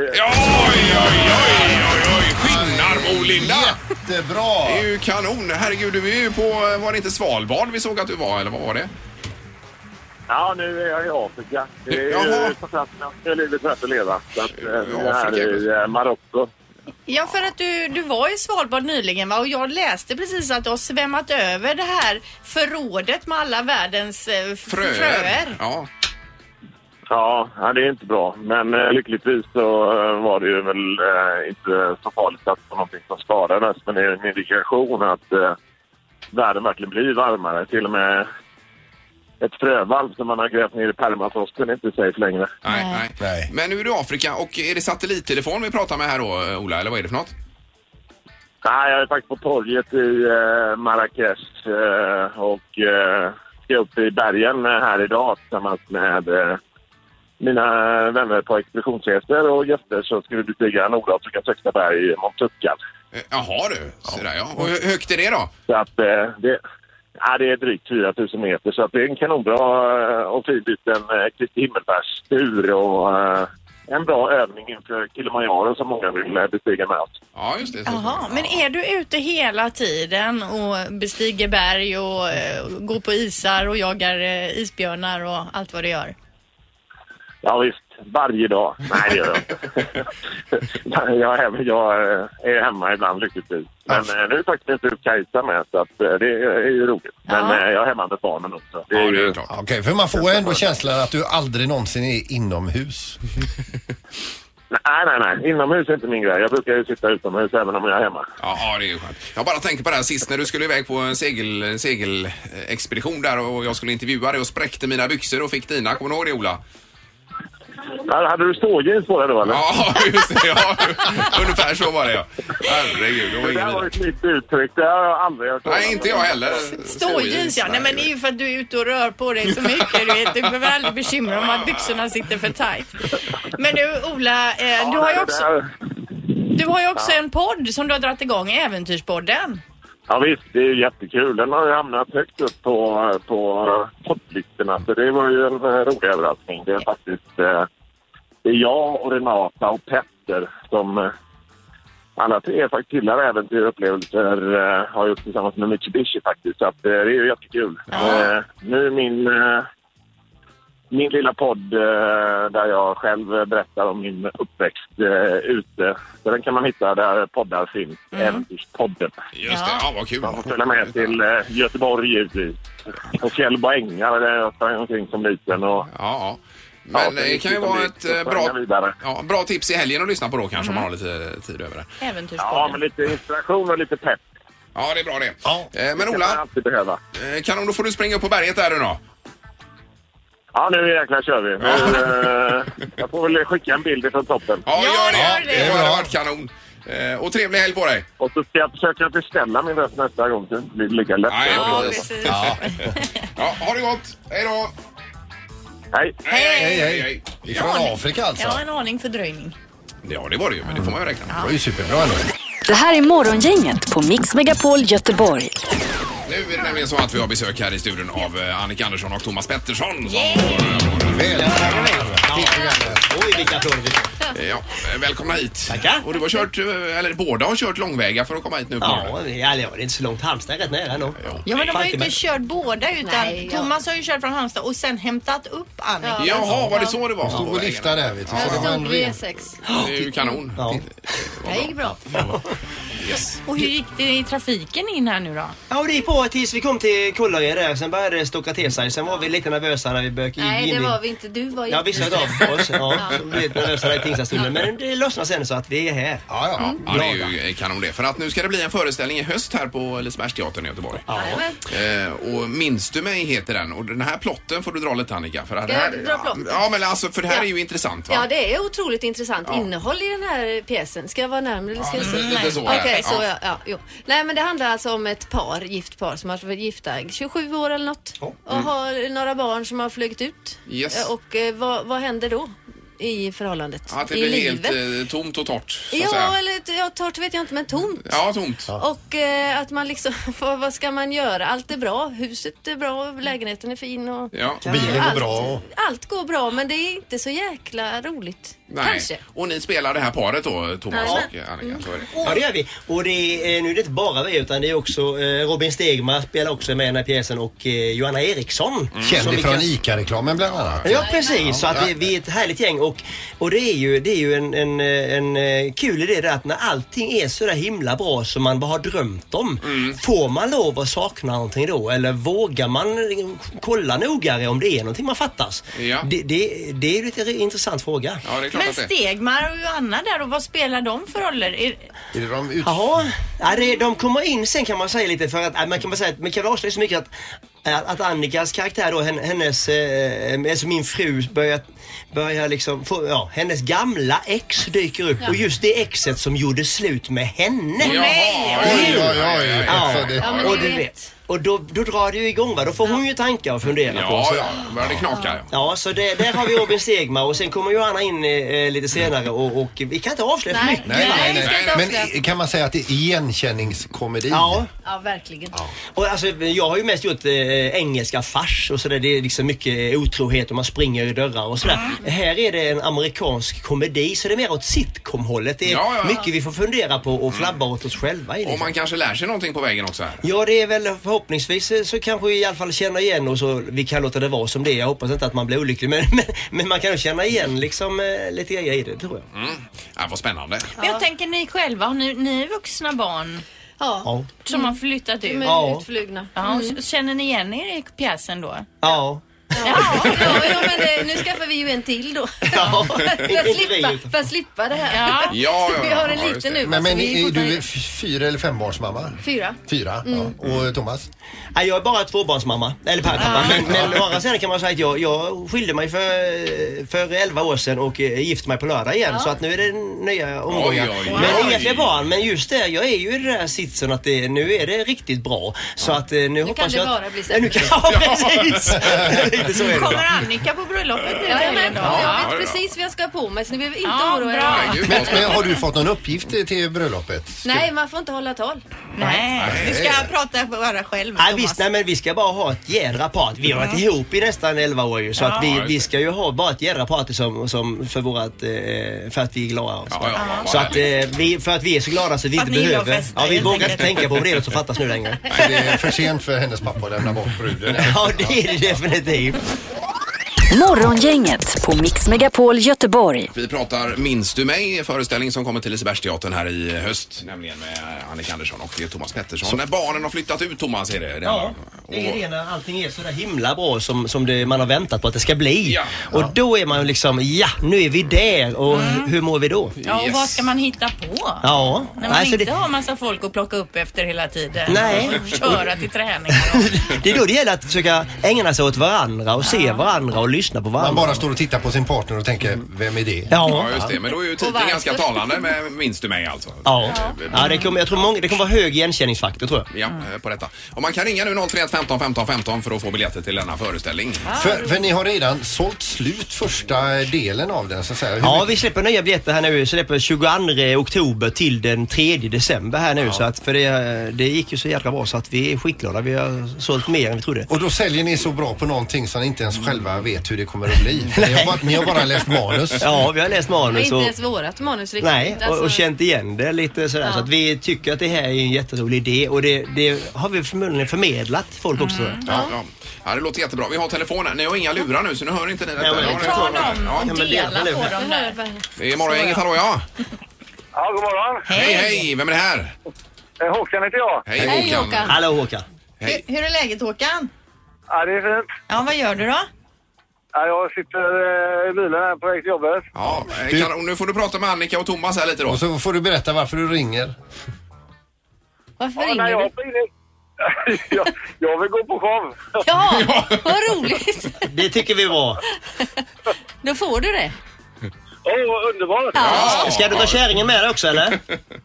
Speaker 6: Skinnarmo, Linda!
Speaker 8: Jättebra!
Speaker 6: Det är ju kanon. Herregud, du är ju på, var det inte Svalbard vi såg att du var, eller vad var det?
Speaker 14: Ja, nu är jag i Afrika. Det är
Speaker 6: Jaha.
Speaker 14: ju på plats där livet rätt att leva. Så att, eh, jag är här
Speaker 6: Afrika,
Speaker 14: i eh, Marocko.
Speaker 7: Ja, för att du, du var i Svalbard nyligen va? och jag läste precis att du har svämmat över det här förrådet med alla världens eh, f- fröer.
Speaker 6: Ja.
Speaker 14: Ja, ja, det är inte bra. Men eh, lyckligtvis så eh, var det ju väl eh, inte så farligt att det var någonting som skadades. Men det är en indikation att eh, världen verkligen blir varmare. Till och med ett frövalv som man har grävt ner i permafrosten är inte safe längre.
Speaker 6: Nej, nej. Men nu är du i Afrika och är det satellittelefon vi pratar med här då, Ola, eller vad är det för något?
Speaker 14: Nej, jag är faktiskt på torget i eh, Marrakesh eh, och eh, ska upp i bergen eh, här idag tillsammans med eh, mina vänner på expeditionsresor och gäster så ska vi bestiga Nordafrikas högsta berg, Mont Tuckan.
Speaker 6: Eh, Jaha du, så där ja. Och hur högt är det då?
Speaker 14: Så att eh, det... ja, det är drygt 4 000 meter så att det är en kanonbra eh, och fin liten eh, Kristi himmelsfärdstur och eh, en bra övning inför Kilimanjaro som många vill eh, bestiga med oss.
Speaker 6: Ja, just det.
Speaker 7: Jaha, men är du ute hela tiden och bestiger berg och eh, går på isar och jagar eh, isbjörnar och allt vad du gör?
Speaker 14: Ja, visst, varje dag. Nej, det gör jag inte.
Speaker 6: *laughs*
Speaker 14: Nej, jag, är, hemma- jag eh, är hemma ibland lyckligtvis. Men eh, nu är faktiskt inte ut Kajsa med så att, eh, det är ju roligt. Men
Speaker 8: Ja.
Speaker 14: eh, jag är hemma med barnen också. Det är
Speaker 8: Ja,
Speaker 14: ju,
Speaker 8: Okej, för man får ändå känslan att du aldrig någonsin är inomhus.
Speaker 14: Nej, nej, nej. Inomhus är inte min grej. Jag brukar ju sitta utomhus även om jag är hemma.
Speaker 6: Ja, ja, det är ju skönt. Jag bara tänker på det här sist när du skulle iväg på en segel, segelexpedition där och jag skulle intervjua dig och spräckte mina byxor och fick dina. Kommer du ihåg det Ola?
Speaker 14: Ja, Hade du ståjeans på dig då eller?
Speaker 6: Ja, just det. Ja, ungefär så var det ja. Herregud, det var
Speaker 14: Det
Speaker 6: ingen
Speaker 14: där var
Speaker 6: vidare.
Speaker 14: ett nytt uttryck. Det har jag aldrig hört
Speaker 6: Nej, inte jag heller.
Speaker 7: Ståjeans ja, nej men det är ju för att du är ute och rör på dig så mycket. Du, vet. du behöver aldrig bekymra dig om att byxorna sitter för tajt. Men du Ola, eh, du har ju också, du har ju också
Speaker 14: Ja.
Speaker 7: en podd som du har dragit igång, Äventyrspodden.
Speaker 14: Ja, visst, det är ju jättekul. Den har ju hamnat högt upp på, på eh, topplistorna. Så det var ju en eh, rolig överraskning. Det är faktiskt eh, det är jag och Renata och Petter som eh, alla tre är faktiskt killar äventyr och upplevelser eh, har gjort tillsammans med Mitsubishi faktiskt. Så att, eh, det är ju jättekul. Eh, nu är min, eh, min lilla podd eh, där jag själv eh, berättar om min uppväxt eh, ute. Så den kan man hitta där poddar finns. Äventyrspodden.
Speaker 6: Just det, ja vad kul.
Speaker 14: Man får följa med till eh, Göteborg givetvis. Och fjäll och ängar där jag sprang omkring som liten. Och,
Speaker 6: ja, Men det kan ju vara ett eh, bra, ja, bra tips i helgen att lyssna på då kanske om man har lite eh, tid över det.
Speaker 7: Äventyrspodden.
Speaker 14: Ja, men lite inspiration och lite pepp.
Speaker 6: Ja, det är bra det. Eh, Men
Speaker 14: Det kan man
Speaker 6: Ola,
Speaker 14: alltid behöva.
Speaker 6: eh, kanon, då får du springa upp på berget där nu då.
Speaker 14: Ja, nu jäklar kör vi. Nu, eh, jag får väl skicka en bild från toppen.
Speaker 6: Ja, gör det! det har varit kanon. Eh, Och trevlig helg på dig!
Speaker 14: Och så ska jag försöka beställa min röst nästa gång så det inte blir lika lätt.
Speaker 6: Nej, precis. Ja. Ja, ha det gott! Hej då!
Speaker 14: Hej!
Speaker 6: Hej,
Speaker 8: hej.
Speaker 6: Ifrån Afrika
Speaker 8: alltså.
Speaker 7: Ja, en aning fördröjning.
Speaker 6: Ja, det var det ju, men det får man ju räkna med. Det
Speaker 8: var ju superbra ändå.
Speaker 4: Det här är Morgongänget på Mix Megapol Göteborg.
Speaker 6: Nu är det nämligen så att vi har besök här i studion av eh, Annika Andersson och Thomas Pettersson. Som yeah.
Speaker 17: Oj, vilka applåder vi får.
Speaker 6: ja, eh, välkomna hit. Tackar. Och du har kört, eh, eller båda har kört långväga för att komma hit nu på
Speaker 17: Ja,
Speaker 6: morgonen.
Speaker 17: det är inte så långt. Halmstad är rätt nära nog.
Speaker 7: Ja men de har ju inte kört båda utan
Speaker 11: Nej, ja.
Speaker 7: Thomas har ju kört från Halmstad och sen hämtat upp Annika.
Speaker 6: Jaha, var det så det var?
Speaker 8: Stod och lyftade där, vet du.
Speaker 6: Ja,
Speaker 8: Så det var en
Speaker 7: Stod
Speaker 8: ren-
Speaker 7: V6.
Speaker 6: Det är ju kanon.
Speaker 7: Det gick bra.
Speaker 6: Yes.
Speaker 7: Och hur gick det i trafiken in här nu då?
Speaker 17: Ja, och det gick bra tills vi kom till Kullared där. Sen började det stocka till sig. Sen var vi lite nervösa när vi började
Speaker 18: Nej,
Speaker 17: in
Speaker 18: det
Speaker 17: i-
Speaker 18: var vi inte. Du var
Speaker 17: Ja, vi slöt av oss. Ja, så blev vi lite nervösa där i tingsrättsstunden. Men det lossnade sen så att vi är här.
Speaker 6: Ja, ja, det är ju eh, kanon det. För att nu ska det bli en föreställning i höst här på Lisebergsteatern i Göteborg. Eh, och Minns du mig heter den. Och den här plotten får du dra lite Annika. För det
Speaker 18: Ska
Speaker 6: här,
Speaker 18: jag dra plotten?
Speaker 6: Ja, men alltså för det här
Speaker 18: Ja.
Speaker 6: är ju intressant va?
Speaker 18: Ja, det är otroligt intressant
Speaker 6: Ja.
Speaker 18: innehåll i den här pjäsen. Ska jag vara närmare eller ska
Speaker 6: Ja,
Speaker 18: jag
Speaker 6: lite- lite så
Speaker 18: Okej,
Speaker 6: här.
Speaker 18: så
Speaker 6: Ja.
Speaker 18: ja. ja jo. Nej, men det handlar alltså om ett par, gift par som har varit gifta i 27 år eller något och
Speaker 6: Mm.
Speaker 18: har några barn som har flugit ut.
Speaker 6: Yes.
Speaker 18: Eh, Och eh, vad, vad händer då i förhållandet?
Speaker 6: Att det
Speaker 18: I
Speaker 6: blir
Speaker 18: livet?
Speaker 6: helt eh, tomt och torrt. Så att
Speaker 18: Ja,
Speaker 6: säga.
Speaker 18: eller ja, torrt vet jag inte, men tomt.
Speaker 6: Ja, tomt.
Speaker 18: Och eh, att man liksom, *laughs* vad, vad ska man göra? Allt är bra, huset är bra, lägenheten är fin och
Speaker 6: Ja.
Speaker 18: Och bilen går Allt. bra. allt går bra men det är inte så jäkla roligt.
Speaker 6: Nej.
Speaker 18: Kanske.
Speaker 6: Och ni spelar det här paret då, Thomas
Speaker 18: Ja.
Speaker 6: och Annika? Så är det.
Speaker 17: Ja, det gör vi. Och det är, nu är det inte bara vi utan det är också eh, Robin Stegmar spelar också med i den här pjäsen och eh, Johanna Eriksson. Som
Speaker 8: Känd
Speaker 17: vi
Speaker 8: ifrån
Speaker 17: kan-
Speaker 8: ICA-reklamen bland annat.
Speaker 17: Ja precis, så att vi, vi är ett härligt gäng och, och det är ju, det är ju en, en, en eh, kul idé där att när allting är så där himla bra som man bara har drömt om. Får man lov att sakna någonting då eller vågar man kolla noggrannare om det är någonting man fattas? Det, det, det är ju lite intressant fråga.
Speaker 6: Ja, det är
Speaker 7: Men Stegmar och Johanna där och vad spelar de för roller? Är-
Speaker 8: Är det de ut...
Speaker 17: Jaha, ja, det, de kommer in sen kan man säga lite för att, äh, man kan bara säga att, man kan väl avslöja så mycket att, äh, att, att Annikas karaktär då, hen- hennes, eh, alltså min fru börjar, börjar liksom, få, ja, hennes gamla ex dyker upp och just det exet som gjorde slut med henne.
Speaker 16: Jaha, oj, oj, oj, oj.
Speaker 17: Ja,
Speaker 16: Alltså, det- Ja, men
Speaker 17: och
Speaker 16: det
Speaker 17: du
Speaker 16: vet.
Speaker 17: vet. Och då, då drar det ju igång va. Då får hon ju tankar och fundera
Speaker 6: Ja,
Speaker 17: på. Så-
Speaker 6: ja, då börjar det knaka, ja.
Speaker 17: Ja, så det, där har vi Robin Stegmar och sen kommer Johanna in eh, lite senare och, och vi kan inte avslöja för mycket. va?
Speaker 8: Men i- kan man säga att det är igenkänningskomedi?
Speaker 17: Ja.
Speaker 11: Ja, verkligen.
Speaker 17: Och alltså, jag har ju mest gjort eh, engelska fars och sådär. Det är liksom mycket otrohet och man springer i dörrar och sådär. Här är det en amerikansk komedi så det är mer åt sitcom-hållet. Det är
Speaker 6: Ja, ja, ja.
Speaker 17: mycket vi får fundera på och flabba åt oss själva i.
Speaker 8: Mm.
Speaker 6: Och man kanske lär sig någonting på vägen också här.
Speaker 17: Ja, det är väl förhoppningsvis eh, så kanske vi i alla fall känner igen och så vi kan låta det vara som det är. Jag hoppas inte att man blir olycklig men, *laughs* men, men man kan nog känna igen liksom eh, lite grejer i det tror jag.
Speaker 6: Mm. Ja, vad spännande.
Speaker 7: Men jag tänker ni själva, har ni, ni är vuxna barn.
Speaker 17: Ja.
Speaker 7: Som har flyttat ut.
Speaker 17: De är Ja.
Speaker 18: utflugna. Mm.
Speaker 7: Ja, och k- Känner ni igen er i pjäsen då?
Speaker 17: Ja.
Speaker 18: Ja, ja, men eh, nu skaffar vi ju en till då.
Speaker 17: Ja,
Speaker 18: *laughs* för, att slippa, för att slippa det här.
Speaker 7: Ja.
Speaker 8: Ja,
Speaker 18: Så vi har en liten nu.
Speaker 8: Men,
Speaker 18: alltså,
Speaker 8: men
Speaker 18: vi
Speaker 8: är du
Speaker 18: fortfarande-
Speaker 8: f- fyra eller fembarnsmamma?
Speaker 18: Fyra.
Speaker 8: Fyra.
Speaker 18: Mm.
Speaker 8: Ja. Och Thomas?
Speaker 17: Nej, jag är bara tvåbarnsmamma, eller pappa. Men, men å andra sidan kan man säga att jag, jag skilde mig för, för 11 år sedan och eh, gifte mig på lördag igen.
Speaker 18: Ja.
Speaker 17: Så att nu är det nya omgångar.
Speaker 16: Oj, oj,
Speaker 17: oh, men
Speaker 16: oj.
Speaker 17: inga fler barn. Men just det, jag är ju i den där sitsen att det, nu är det riktigt bra. Så att eh, nu, nu hoppas
Speaker 18: det
Speaker 17: jag...
Speaker 18: bara bli sämre.
Speaker 17: sämre. Nu kan, ja,
Speaker 7: *laughs*
Speaker 17: precis. Lite så är det.
Speaker 7: Kommer Annika på bröllopet nu?
Speaker 18: Ja,
Speaker 7: eller
Speaker 18: men,
Speaker 7: då?
Speaker 18: jag vet precis vad jag ska ha på mig så ni behöver inte
Speaker 7: Ja,
Speaker 18: oroa
Speaker 7: bra.
Speaker 18: er.
Speaker 8: Men, men har du fått någon uppgift till bröllopet?
Speaker 18: Nej, man får inte hålla tal.
Speaker 8: Nej. Du ska
Speaker 7: prata bara själv
Speaker 17: Nej, visst, nej, men vi ska bara ha ett jädra party. Vi har varit
Speaker 18: Mm.
Speaker 17: ihop i nästan 11 år ju. Så
Speaker 18: Ja.
Speaker 17: att vi,
Speaker 18: Ja, just
Speaker 17: vi ska ju ha bara ett jädra party som, som för, vårat, eh, för att vi är glada. och så.
Speaker 6: Ja, ja, ja.
Speaker 17: så att, eh, vi, för att vi är så glada så vi
Speaker 8: För
Speaker 17: inte
Speaker 8: att ni gillar att
Speaker 17: behöver.
Speaker 8: festa,
Speaker 17: Ja, vi
Speaker 8: helt
Speaker 17: vågar inte
Speaker 8: enkelt.
Speaker 17: tänka på det som fattas nu längre.
Speaker 8: Nej, det är för sent för hennes pappa att lämna bort bruden.
Speaker 17: *laughs* Ja, det är det definitivt.
Speaker 4: Morgongänget på Mix Megapol Göteborg.
Speaker 6: Vi pratar Minns du mig? Föreställning som kommer till Lisebergsteatern här i höst. Nämligen med Annika Andersson och Thomas Pettersson.
Speaker 17: Så-
Speaker 6: När barnen har flyttat ut Thomas är det. det
Speaker 17: Ja, det är det när allting är sådär himla bra som, som det, man har väntat på att det ska bli. Och då är man ju liksom, ja, nu är vi där och
Speaker 19: Mm.
Speaker 17: hur mår vi då?
Speaker 7: Ja, och vad ska man hitta på?
Speaker 17: Ja,
Speaker 7: När man
Speaker 17: alltså
Speaker 7: inte
Speaker 17: det,
Speaker 7: har massa folk att plocka upp efter hela tiden.
Speaker 17: Nej.
Speaker 7: Och köra till träning.
Speaker 17: *laughs* det är då det gäller att försöka ägna sig åt varandra och se varandra och lyssna på varandra.
Speaker 8: Man bara står och tittar på sin partner och tänker, vem är det?
Speaker 17: Ja.
Speaker 6: Ja, just det. Men då är ju
Speaker 17: Och
Speaker 6: titeln
Speaker 17: varför?
Speaker 6: ganska talande med Minns du mig alltså.
Speaker 17: Ja, ja det, kommer, jag tror många, det kommer vara hög igenkänningsfaktor tror jag.
Speaker 6: Ja, eh, på detta. Och man kan ringa nu 031 15 15 15 för att få biljetter till denna föreställning.
Speaker 8: För, för ni har redan sålt slut första delen av den så att säga. Hur
Speaker 17: Ja, vi släpper nya biljetter här nu. Vi släpper 22 oktober till
Speaker 18: *laughs*
Speaker 17: den 3 december här nu. Så att, för det, det gick ju så jävla bra så att vi är skitglada. Vi har sålt mer än vi trodde.
Speaker 8: Och då säljer ni så bra på någonting som ni inte ens själva vet hur det kommer att
Speaker 17: *laughs*
Speaker 8: bli. Ni har bara, ni har bara läst manus.
Speaker 17: Ja, vi har läst
Speaker 18: Men
Speaker 17: manus
Speaker 18: inte
Speaker 17: och,
Speaker 18: ens vårat manus riktigt.
Speaker 17: nej, och,
Speaker 18: Alltså,
Speaker 17: och känt igen det lite sådär.
Speaker 18: Ja.
Speaker 17: Så att vi tycker att det här är en jätterolig idé och det, det har vi förmodligen förmedlat till folk också.
Speaker 6: Ja, ja. ja, det låter jättebra. Vi har telefonen. Ni har inga lurar nu så nu hör inte ni detta.
Speaker 17: Ja, men-
Speaker 6: Ja, det är
Speaker 17: Ta
Speaker 6: klart.
Speaker 17: dem.
Speaker 6: Ja.
Speaker 17: Ja, men det-
Speaker 7: Dela på dem där.
Speaker 6: Det är morgongänget. Hallå ja!
Speaker 19: Ja, god morgon.
Speaker 6: Hej, hej! Vem är det här?
Speaker 19: Eh, Håkan heter jag.
Speaker 6: Hej,
Speaker 7: Hej,
Speaker 6: Håkan.
Speaker 7: Håkan.
Speaker 17: Hallå Håkan.
Speaker 7: Hur, hur är läget Håkan?
Speaker 19: Ja, det är fint.
Speaker 7: Ja, vad gör du då?
Speaker 19: Ja, jag sitter eh, i bilen här på väg till jobbet.
Speaker 6: Ja, eh, Kan, nu får du prata med Annika och Thomas här lite då.
Speaker 8: Och så får du berätta varför du ringer.
Speaker 18: Varför
Speaker 19: Ja,
Speaker 18: ringer
Speaker 19: nej, jag
Speaker 18: du?
Speaker 19: *laughs* jag, jag vill gå på show.
Speaker 18: Ja, vad roligt.
Speaker 17: Det tycker vi var.
Speaker 18: Då får du det.
Speaker 19: Åh, oh, underbart!
Speaker 17: Ska du ta kärringen med dig också eller?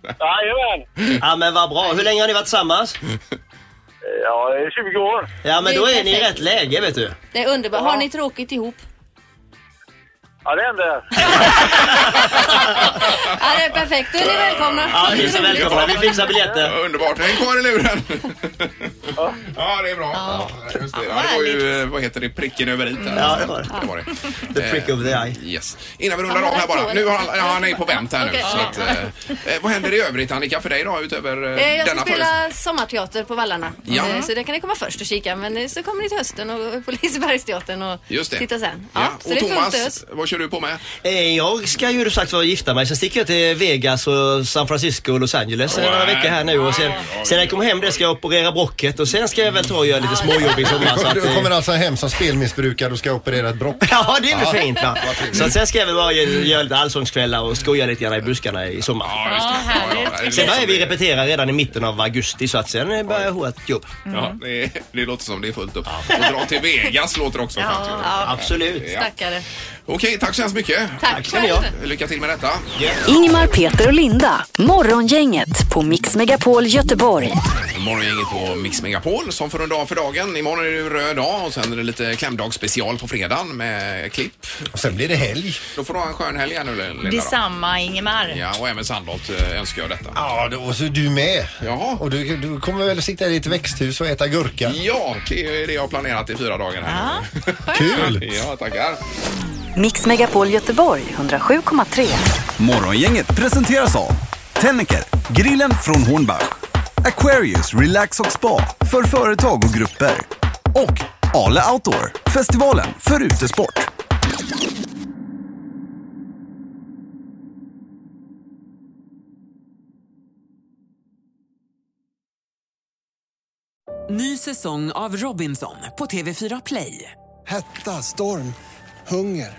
Speaker 19: Jajamän!
Speaker 17: Ja men vad bra. Hur länge har ni varit tillsammans?
Speaker 19: Eh, Ja, det är 20 år.
Speaker 17: Ja men
Speaker 18: Det är
Speaker 17: då är ni i
Speaker 18: perfekt.
Speaker 17: rätt läge vet du.
Speaker 18: Det är underbart. Har ni tråkigt ihop?
Speaker 19: Ja, det händer.
Speaker 18: Ja, det är perfekt. Då är ni välkomna.
Speaker 17: Ja, ni är så välkomna. Vi fixar biljetter.
Speaker 6: Underbart. Häng kvar i luren! ja, det är bra. Ja, just det. Ja, det var ju, eh, vad heter det, pricken över i där.
Speaker 17: Ja, det var det.
Speaker 6: det. Var det.
Speaker 17: The prick of the eye.
Speaker 6: Yes. Innan vi rullar av här bara. Nu har alla, ja, han är på vänt här nu.
Speaker 18: Okej.
Speaker 6: Så att, eh, eh, vad händer i övrigt Annika för dig då utöver eh,
Speaker 18: Eh, Jag ska
Speaker 6: denna föreställning?
Speaker 18: spela sommarteater på Vallarna.
Speaker 6: Ja.
Speaker 18: Eh, Så det kan ni komma först och kika. Men eh, så kommer ni till hösten och på Lisebergsteatern och
Speaker 6: Just det.
Speaker 18: titta sen.
Speaker 6: Ja.
Speaker 18: så
Speaker 6: Och
Speaker 18: det är fullt
Speaker 6: Thomas,
Speaker 18: ös.
Speaker 6: vad kör du på med?
Speaker 17: Eh, Jag ska ju som sagt vara gifta mig, sen sticker jag till Vegas och San Francisco och Los Angeles några veckor här nu och sen, sen när jag kommer hem där ska jag operera brocket och sen ska jag väl ta och göra lite småjobb i sommar. Så
Speaker 8: *laughs*
Speaker 17: att,
Speaker 8: Du kommer
Speaker 17: eh,
Speaker 8: alltså hem som spelmissbrukare och ska operera ett brock.
Speaker 17: ja det är väl
Speaker 8: Ja.
Speaker 17: fint va.
Speaker 8: Vad trevligt.
Speaker 17: Så att sen ska jag väl bara göra göra lite allsångskvällar och skoja lite grann i buskarna i sommar.
Speaker 7: Ja, härligt.
Speaker 17: Sen börjar vi repetera redan i mitten av augusti så att sen eh, börjar jag ha ett jobb.
Speaker 6: Ja, det, det låter som det är fullt upp. Och dra till Vegas låter också
Speaker 18: Ja,
Speaker 6: skönt ju.
Speaker 18: ja.
Speaker 17: Absolut.
Speaker 6: Ja.
Speaker 18: Stackare.
Speaker 6: Okej, tack så hemskt mycket.
Speaker 4: Tack själv.
Speaker 6: Lycka till med detta.
Speaker 4: Ingemar, Peter och Linda. Morgongänget på Mix Megapol Göteborg.
Speaker 6: Morgongänget på Mix Megapol som får runda av för dagen. Imorgon är det ju röd dag och sen är det lite klämdagsspecial på fredagen med klipp.
Speaker 8: Och sen blir det helg.
Speaker 6: Då får du ha en skön helg här nu Linda. då.
Speaker 7: Detsamma Ingemar.
Speaker 6: Ja, och även Sandholt eh, önskar jag detta.
Speaker 8: Ja, då, och så du med.
Speaker 6: Ja.
Speaker 8: Och du, du kommer väl sitta i ett växthus och äta gurka?
Speaker 6: Ja, det är det jag har planerat i fyra dagar här. *laughs*
Speaker 8: Kul!
Speaker 6: Ja, tackar.
Speaker 4: Mix Megapol Göteborg 107,3.
Speaker 5: Morgongänget presenteras av Tennicker, grillen från Hornbach, Aquarius Relax och Spa för företag och grupper och Ale Outdoor, festivalen för utesport.
Speaker 1: Ny säsong av Robinson på TV4 Play.
Speaker 2: Hetta, storm, hunger.